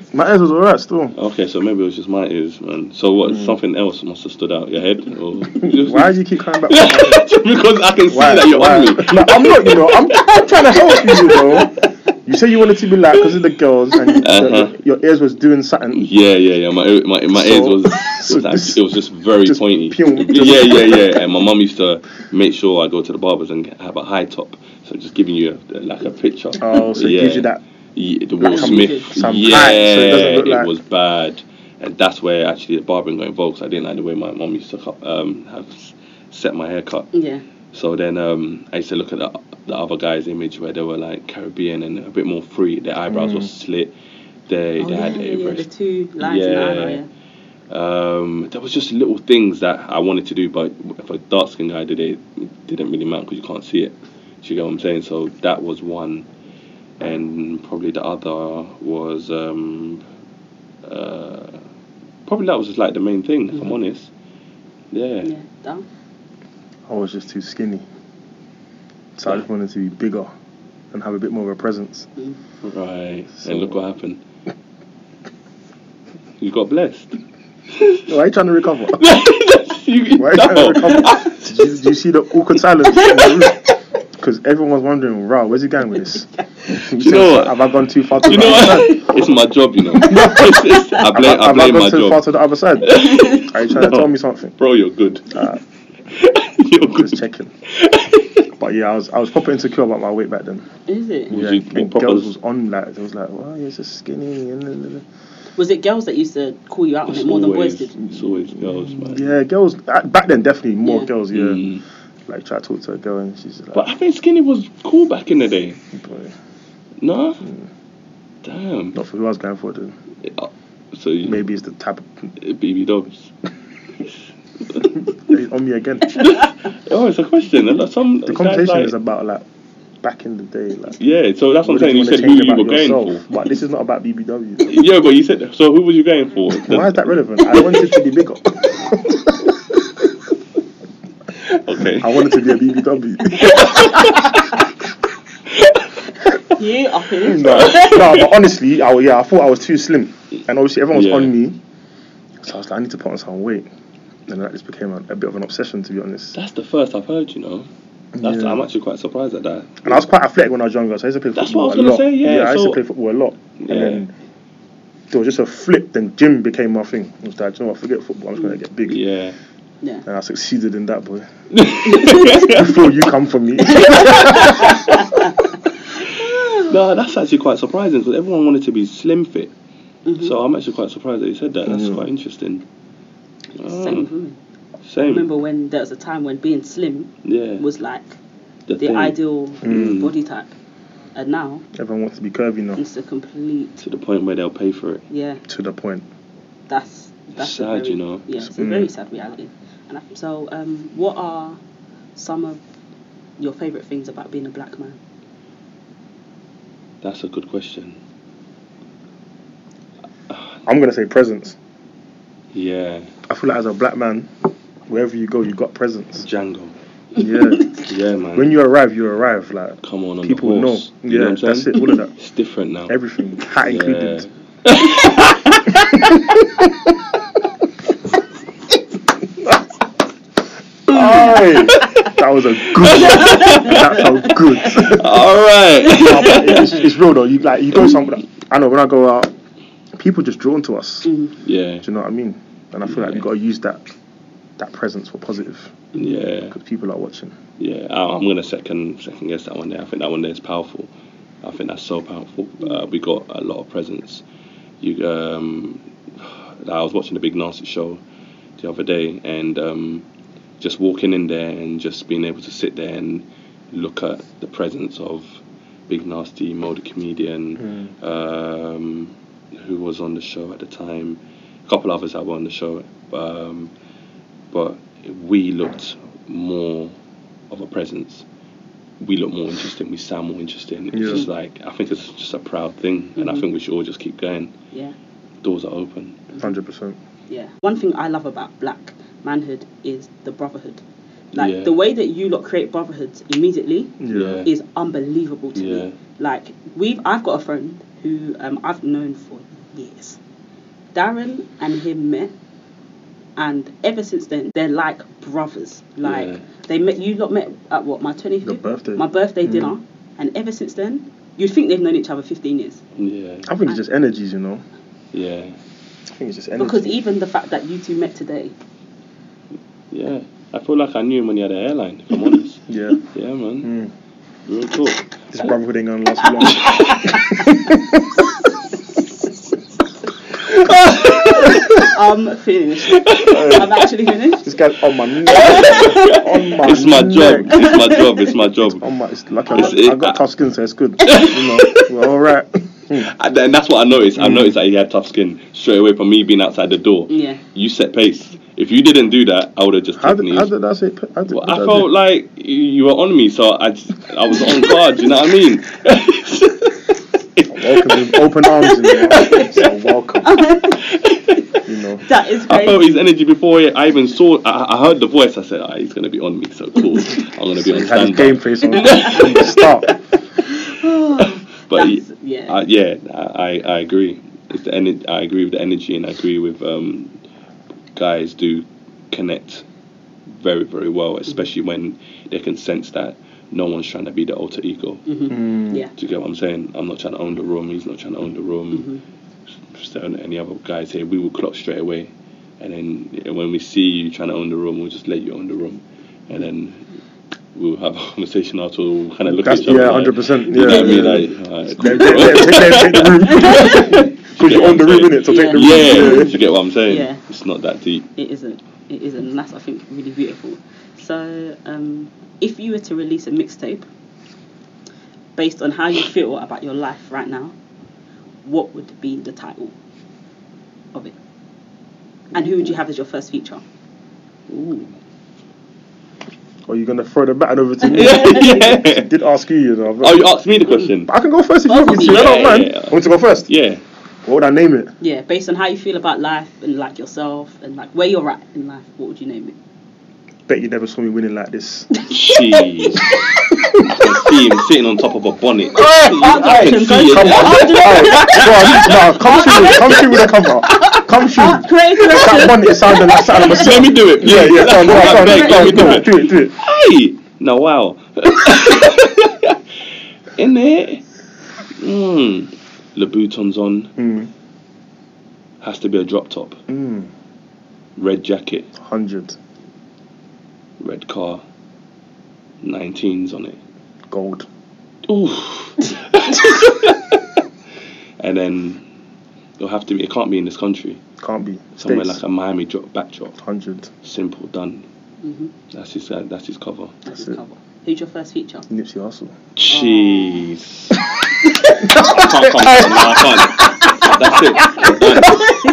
it? My ears was alright still. Okay, so maybe it was just my ears, man. So what? Something else must have stood out your head, or Hmm. Why do you keep coming back? because I can see Why? that you're Why? on me. No, I'm not. You know, I'm, I'm trying to help you. You know, you say you wanted to be like because of the girls, and you- Uh-huh. your, your ears was doing something. Yeah, yeah, yeah. My ear- my, my So- ears was it was, so this- like, it was just very just pointy. pure- yeah, yeah, yeah. And my mum used to make sure I go to the barbers and have a high top. So just giving you a, like a picture. Oh, so it yeah. gives you that. Yeah, the Like Will some- Smith. some yeah, pants, so it doesn't look it like- was bad, and that's where actually the barbering got involved. 'cause I didn't like the way my mum used to cut, um have s- set my haircut. Yeah. So then um, I used to look at the, the other guy's image where they were like Caribbean and a bit more free. Their eyebrows were slit. They, Mm. oh, they yeah, had yeah, yeah, the Everest. two lines in the Yeah. eyebrow, yeah. Um, there was just little things that I wanted to do, but if a dark skinned guy did it, it didn't really matter because you can't see it. Do you get what I'm saying? So that was one, and probably the other was um, uh, probably that was like the main thing. Mm-hmm. If I'm honest, Yeah, down. I was just too skinny, so I just wanted to be bigger and have a bit more of a presence. Right. So- and look what happened. You got blessed. Why are you trying to recover? You- Why are you trying no. to recover? Did you, did you see the awkward silence? Because everyone's wondering, wow, where's he going with this? You you know what? Have I gone too far to You the know other side? what? It's my job, you know. It's- it's- I Have I, blame, I have I blame gone my too far job. to the other side? Are you trying to No. tell me something? Bro, you're good. Uh, you're good. just checking. But yeah, I was I was proper insecure about my weight back then. Is it? Was Yeah, you- and proper- girls was on that. They was like, "Well, you're just skinny." and then- then- Was it girls that used to call you out on It's it more than boys always, did? it's always girls, man. then." Yeah, girls at- back then definitely more Yeah. girls. Yeah, Mm. like try to talk to a girl and she's like, But I think skinny was cool back in the day. "Boy, No? Hmm. Damn. Uh, "Not for who I was going for." Then So you, maybe it's the tab BB Dubs. it's on me again. Oh, it's a question. and Some The conversation like, is about like back in the day, like. Yeah, so that's what I'm did saying. You wanna said who change you about were going yourself? for. But this is not about BBW. Yeah, but you said so. Who were you going for? Why is that relevant? I wanted to be bigger. Okay. I wanted to be a BBW. You up in it. No, no, but honestly, I, wa- yeah, I thought I was too slim, and obviously everyone was Yeah. on me, so I was like, I need to put on some weight, and that just became a, a bit of an obsession, to be honest. That's the first I've heard. You know, that's, Yeah. I'm actually quite surprised at that. And I was quite athletic when I was younger, so I used to play That's football what I was a gonna lot. say, yeah, I used so- to play football a lot, Yeah. and then there was just a flip. Then gym became my thing. I was like, "Do you know what? Forget football. I'm just gonna get big. Yeah. Yeah. And I succeeded in that, boy. Before you come for me, No, that's actually quite surprising because everyone wanted to be slim fit. So I'm actually quite surprised that you said that. That's Mhm. quite interesting. Ah, Oh, Same with women. same. Remember when there was a time when being slim yeah. was like the, the thing. ideal Mm. body type, and now everyone wants to be curvy now. it's a complete to the point where they'll pay for it. yeah. To the point. That's that's a Sad, very, you know. Yeah, it's a Mm. very sad reality. And I, so, um, what are some of your favorite things about being a black man? That's a good question. I'm gonna say presence. Yeah. I feel like as a black man, wherever you go, you got presence. Django. Yeah. Yeah, man. When you arrive, you arrive. Like Come on, on people the know. horse. Yeah, You know what I'm that's saying? it. All of that. It's different now. Everything, hat included. Aye. that was a good. that felt good. All right. No, but it's, it's real though. You like you go somewhere. I know when I go out, people just drawn to us. Yeah, Do you know what I mean? And I feel like we Yeah. gotta use that that presence for positive yeah, because people are watching. yeah. I, I'm gonna second second guess that one there. I think that one there is powerful. I think that's so powerful. Uh, we got a lot of presence. You, um, I was watching the Big Nasty show the other day, and um, just walking in there and just being able to sit there and look at the presence of Big Nasty, Mo the comedian, um, who was on the show at the time, a couple others that were on the show, um, but we looked more of a presence. We look more interesting. We sound more interesting. It's Yeah. just like I think it's just a proud thing, and I think we should all just keep going. Yeah. Doors are open. Hundred percent. Yeah. One thing I love about black manhood is the brotherhood. Like Yeah. the way that you lot create brotherhoods immediately Yeah. Yeah. is unbelievable to Yeah. me. Like we've I've got a friend who um, I've known for years. Darren and him met and ever since then they're like brothers. Like Yeah. they met you lot met at what, my twenty Your birthday. my birthday Mm. dinner. And ever since then, you'd think they've known each other fifteen years. Yeah, I think it's just energies, you know. yeah, I think it's just energy. Because even the fact that you two met today, yeah. I feel like I knew him when he had an airline. If I'm honest. yeah, Yeah, man. mm. Real talk. this brotherhood ain't gonna last long. I'm finished. I'm actually finished. this guy's on my neck. on my It's my job. neck. It's my job. It's my job. On my, it's like I It's- got, it- I got tough skin, so it's good. you know, we're all right. Hmm. And then that's what I noticed. I noticed that he had tough skin straight away from me being outside the door. Yeah. You set pace. If you didn't do that, I would have just How taken did, you. how did I say? How did, Well, what I did I felt do? like you- you were on me, so I, just- I was on guard. you know what I mean? Welcome with open arms. You know, so welcome. you know, That is I felt great. his energy before I even saw. I, I heard the voice. I said, ah, "He's gonna be on me, so cool. I'm gonna be on you had his standby." game face on. from the start. But That's- yeah. I, yeah, I, I I agree. It's the ener- I agree with the energy, and I agree with um, guys do connect very very well, especially when they can sense that no one's trying to be the alter ego. yeah. Do you get what I'm saying? I'm not trying to own the room. He's not trying to own the Mm-hmm. room. Just don't any other guys here, we will clock straight away. And then and when we see you trying to own the room, we'll just let you own the room. And then we'll have a conversation after. We'll kind of look That's at each other. yeah, like, hundred percent. You Yeah, know what yeah. I mean? Like, alright, cool. Let- let- let- let- take the room. 'Cause you're on the room in it, so take the room. Yeah, do you get what I'm saying? Yeah. It's not that deep. It isn't. It isn't. And that's, I think, really beautiful. So, um, if you were to release a mixtape based on how you feel about your life right now, what would be the title of it? And who would you have as your first feature? Are you gonna throw the baton over to me? I yeah. did ask you, you know. but- Oh, you asked me the question. But I can go first if you want me to. Yeah, I don't mind. yeah, yeah. I want to go first. Yeah. What would I name it? Yeah, based on how you feel about life and like yourself and like where you're at in life, what would you name it? Bet you never saw me winning like this. Jeez. I can see him sitting on top of a bonnet. I can see Come on, it. Oh, Alright, come on, nah, come through, come through with a cover. Come throug't. Creative That one, it sounded like Saddam Let me do it. Yeah, yeah, go on, go on, I go beg, on, go let me on, go do on, do it, do it. Hey! No, wow. In it. Mm. Louboutins on. Mm, Has to be a drop top. mm, Red jacket. hundred, Red car. 19s on it. gold. Oof. and then it'll have to be. It can't be in this country. Can't be. Somewhere States, like a Miami drop backdrop. hundred. Simple done. That's his. Uh, that's his cover. Mm-hmm. That's it. cover. Who's your first feature? Nipsey Hussle. Jeez. I can't come. No, I can't. That's it.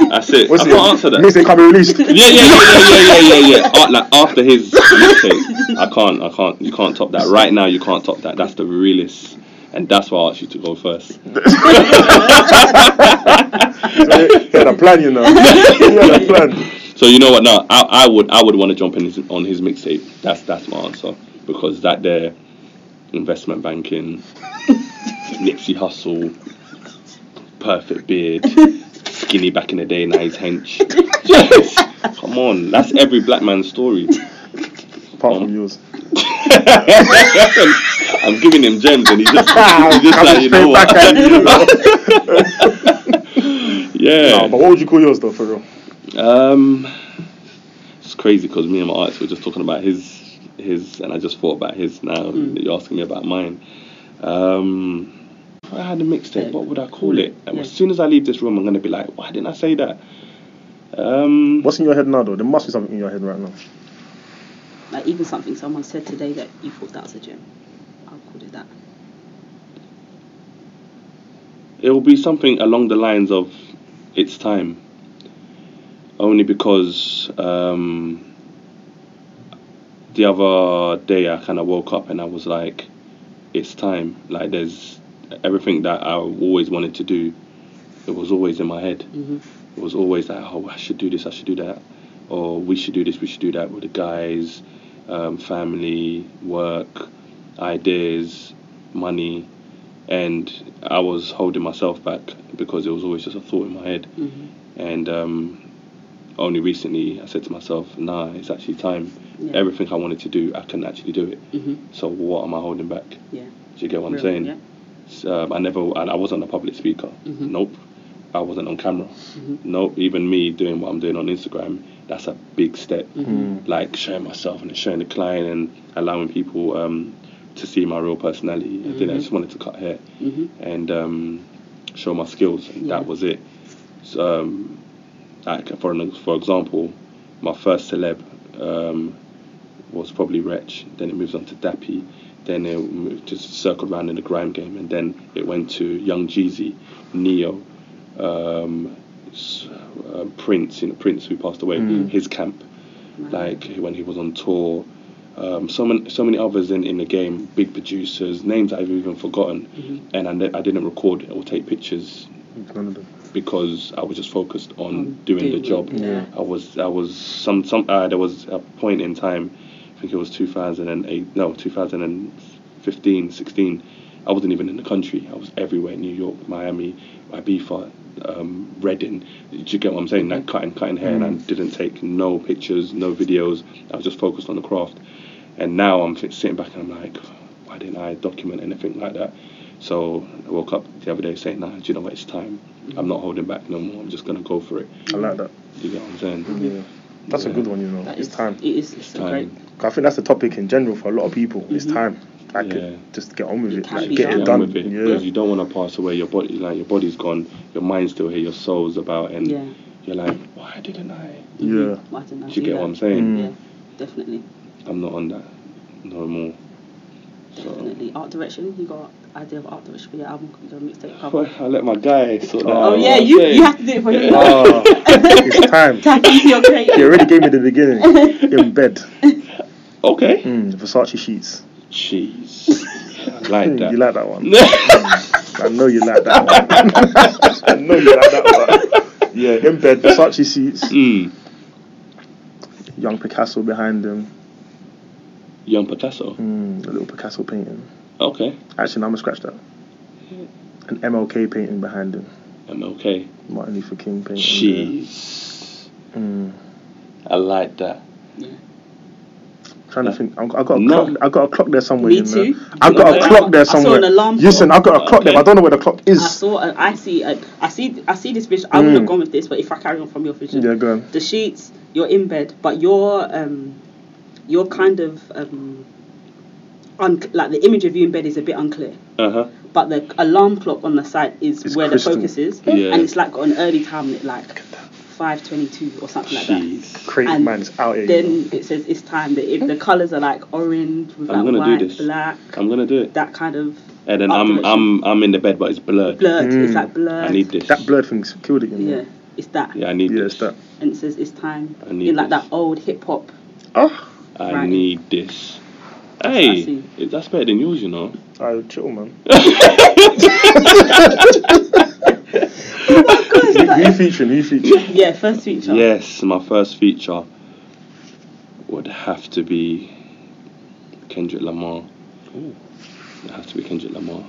That's it. I can't answer that. Means they can't be released. Yeah, yeah, yeah, yeah, yeah, yeah, yeah, yeah. Uh, like after his mixtape, I can't, I can't, you can't top that. Right now, you can't top that. That's the realest, and that's why I asked you to go first. He had a plan, you know. He had a plan. So you know what? Now, I, I would, I would want to jump in his, on his mixtape. That's that's my answer because that there, investment banking, Nipsey Hustle, perfect beard, skinny back in the day, now he's hench. Yes. Come on, that's every black man's story. Apart from yours. I'm giving him gems, and he just, I'll he just like, just you pay know what? back at you, you know. yeah. No, but what would you call yours though, for real? Um, it's crazy because me and my artist were just talking about his his, and I just thought about his. Now you're asking me about mine. Um, if I had a mixtape. What would I call it? And As soon as I leave this room, I'm gonna be like, why didn't I say that? Um, What's in your head now though? There must be something in your head right now. Like even something someone said today that you thought that was a gem. I'll call it that. it will be something along the lines of it's time. Only because um, the other day I kind of woke up and I was like, it's time. Like there's everything that I always wanted to do. It was always in my head. Mm-hmm. It was always like, oh, I should do this, I should do that, or we should do this, we should do that with the guys, um, family, work, ideas, money, and I was holding myself back because it was always just a thought in my head. Mm-hmm. And um, only recently, I said to myself, nah, it's actually time. Yeah. Everything I wanted to do, I can actually do it. hmm So what am I holding back? Do Yeah. you get what I'm Real, saying? yeah. S- Um, I never, and I wasn't a public speaker. Mhm. Nope. I wasn't on camera. Nope. Even me doing what I'm doing on Instagram, that's a big step. Like showing myself and showing the client and allowing people um, to see my real personality. I think I just wanted to cut hair hmm and um, show my skills, and that Yeah. was it. So, um, like for an- for example, my first celeb um, was probably Wretch. Then it moves on to Dappy. Then it moved, just circled around in the grime game, and then it went to Young Jeezy, Neo, um, s- uh, Prince. You know, Prince who passed away. His camp, like when he was on tour. Um, so many, so many others in, in the game, big producers, names I've even forgotten, Mm-hmm. and I, ne- I didn't record or take pictures None of them. because I was just focused on On doing the doing it, job. yeah. I was I was some some uh, there was a point in time, I think it was 2008 no 2015 16. I wasn't even in the country. I was everywhere: New York, Miami, Ibiza, um, Reading. Do you get what I'm saying? Like cutting cutting hair, and I didn't take no pictures, no videos. I was just focused on the craft. And now I'm fi- sitting back and I'm like, why didn't I document anything like that? So I woke up the other day saying, nah, do you know what? It's time. I'm not holding back no more. I'm just gonna go for it. I like that. You get what I'm saying? Yeah. That's a good one, you know. That it's is- time. It is. It's a Time. great. I think that's the topic in general for a lot of people. It's Mm-hmm. time. Like, Yeah. just get on with It it. can Like, be get it Get done. on with it Yeah. because you don't want to pass away. Your body, like your body's gone. Your mind's still here. Your soul's about, and Yeah. Mm-hmm. you're like, why didn't I? Yeah. Why didn't I Do you do get that? what I'm saying? Mm. Yeah, definitely, I'm not on that no more. So definitely. Art direction. You got idea of art direction for your album? Your mixtape cover. I let my guy sort that. Oh, out, Oh you know yeah, what I'm you saying? you have to do it for him. Ah, it's time. Tap into your creative. You already gave me the beginning. In bed. Okay. Mm, Versace sheets. Jeez, I like Mm, that. You like that one? Mm, I know you like that one. I know you like that one. Yeah, in bed, Versace sheets. Mm. Young Picasso behind them. Young Picasso. Mm, a little Picasso painting. Okay. Actually, no, I'm gonna scratch that. An MLK painting behind him. I'm okay. Martin Luther King painting. Jeez. there. Mm. I like that. Uh, Trying to think, I've got, I've got a No. clock. I've got a clock there somewhere. Me you know. too. I've got Okay. a clock I there saw an somewhere. alarm Listen, I've got a clock there. But I don't know where the clock I is. saw. and I see. I, I see. I see this vision. I wouldn't Mm. have gone with this, but if I carry on from your vision, Yeah, go on. the sheets. You're in bed, but you're um, you're kind of um, un- like the image of you in bed is a bit unclear. Uh huh. But the alarm clock on the side is It's where crystal. the focus is, Yeah. and it's like got an early time, like five twenty-two or something like that. Jeez. Creative And man's out here. you know. Then it says it's time. The, if the colours are like orange with like I'm gonna do white, this. black, I'm gonna do it. that kind of And then art I'm direction. I'm I'm in the bed, but it's blurred. Oh, blurred. It's Mm. like blurred. I need this. That blurred thing's killed it. You know. Yeah, it's that. Yeah, I need Yeah, this. it's that. And it says it's time I need in like this. that old hip hop. Oh, I Right. need this. what I Hey, see. it- that's better than yours, you know. I chill, man. Oh New new feature, new feature. Yeah, first feature. Yes, my first feature would have to be Kendrick Lamar. It have to be Kendrick Lamar.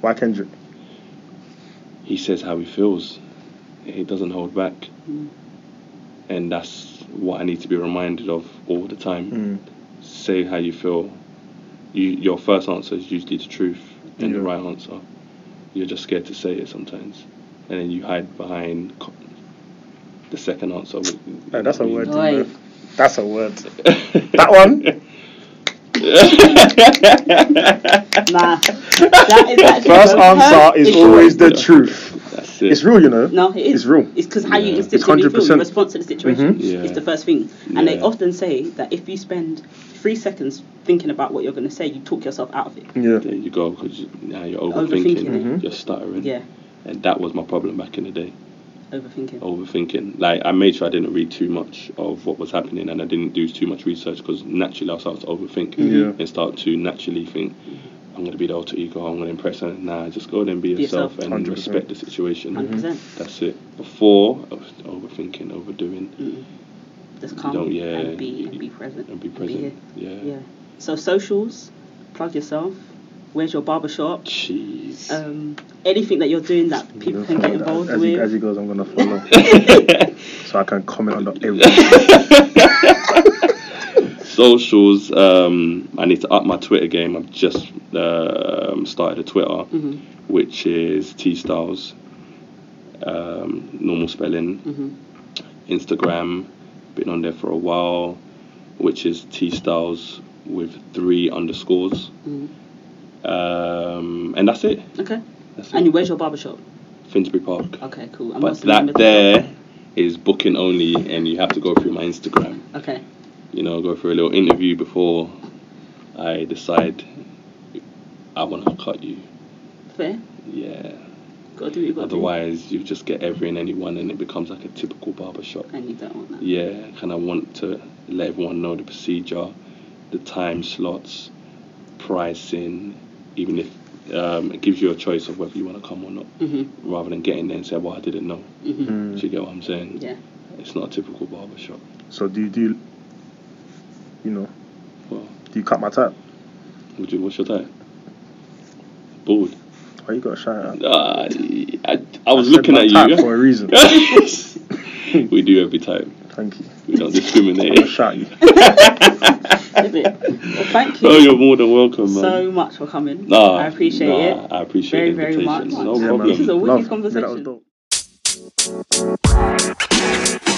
Why Kendrick? He says how he feels. He doesn't hold back, Mm. and Hmm. that's what I need to be reminded of all the time. Mm. Say how you feel. you, your first answer is usually the truth and the Yeah. right answer. You're just scared to say it sometimes, and then you hide behind co- the second answer. wh- Hey, that's a word. Oi. you know. That's a word. that one. Nah. That is actually First the most answer is perfect always choice. the truth. That's it. It's real, you know. No, it is. It's real. It's because how you Yeah. instinctively feel in 100%. Mm-hmm. response to the situation Mhm. Yeah. is the first thing. And they Yeah. often say that if you spend three seconds thinking about what you're going to say, you talk yourself out of it. Yeah. There you go, because you, now you're Overthinking overthinking, it. you're stuttering. Yeah, And that was my problem back in the day, overthinking. Oh, overthinking. Like, I made sure I didn't read too much of what was happening and I didn't do too much research because naturally I'll start to overthink Yeah. and start to naturally think, I'm going to be the alter ego, I'm going to impress her. Nah, just go there and be, Be yourself, Mm-hmm. yourself. and 100%. respect the situation. 100%. That's it. Before, I was overthinking, overdoing, Mm. Just You calm don't- Oh, yeah, and be you- and be present. and be present. here. yeah. Yeah. So socials, plug yourself. Where's your barber shop? Jeez. Um, anything that you're doing that people can get involved as, He, as with. he goes, I'm gonna follow, so I can comment on the everything. socials. Um, I need to up my Twitter game. I've just um, started a Twitter, Mhm. which is T Styles, um, normal spelling. Mhm. Instagram, been on there for a while, which is T Styles with three underscores. Mhm. Um, and that's it. Okay. That's And it. where's your barber shop? Finsbury Park. Okay, cool. And But what's the name that of the shop? there is booking only, and you have to go through my Instagram. Okay. you know, go for a little interview before I decide I want to cut you. Fair. Yeah. Gotta do what you gotta Otherwise, you just get every and anyone, and it becomes like a typical barber shop. do. And you don't want that. Yeah, kind of want to let everyone know the procedure, the time slots, pricing, even if um, it gives you a choice of whether you want to come or not, Mhm. rather than getting there and saying, "Well, I didn't know." Mhm. Do Mm. you get what I'm saying? Yeah. It's not a typical barber shop. So do you do, you, you know, Well, do you cut my tap? would you? What's your time? Bald. Why you got to shout out? Uh, I, I was said looking my at type for a you. reason. we do every time. Thank you. We don't I'm discriminate. gonna shout you. Live it. Well, thank you oh, you're more than welcome, man. so much for coming. Nah, I appreciate nah, it. I appreciate Very, the very much. invitation. No Yeah, man. problem. This is a wicked Love. Yeah, that was conversation. dope.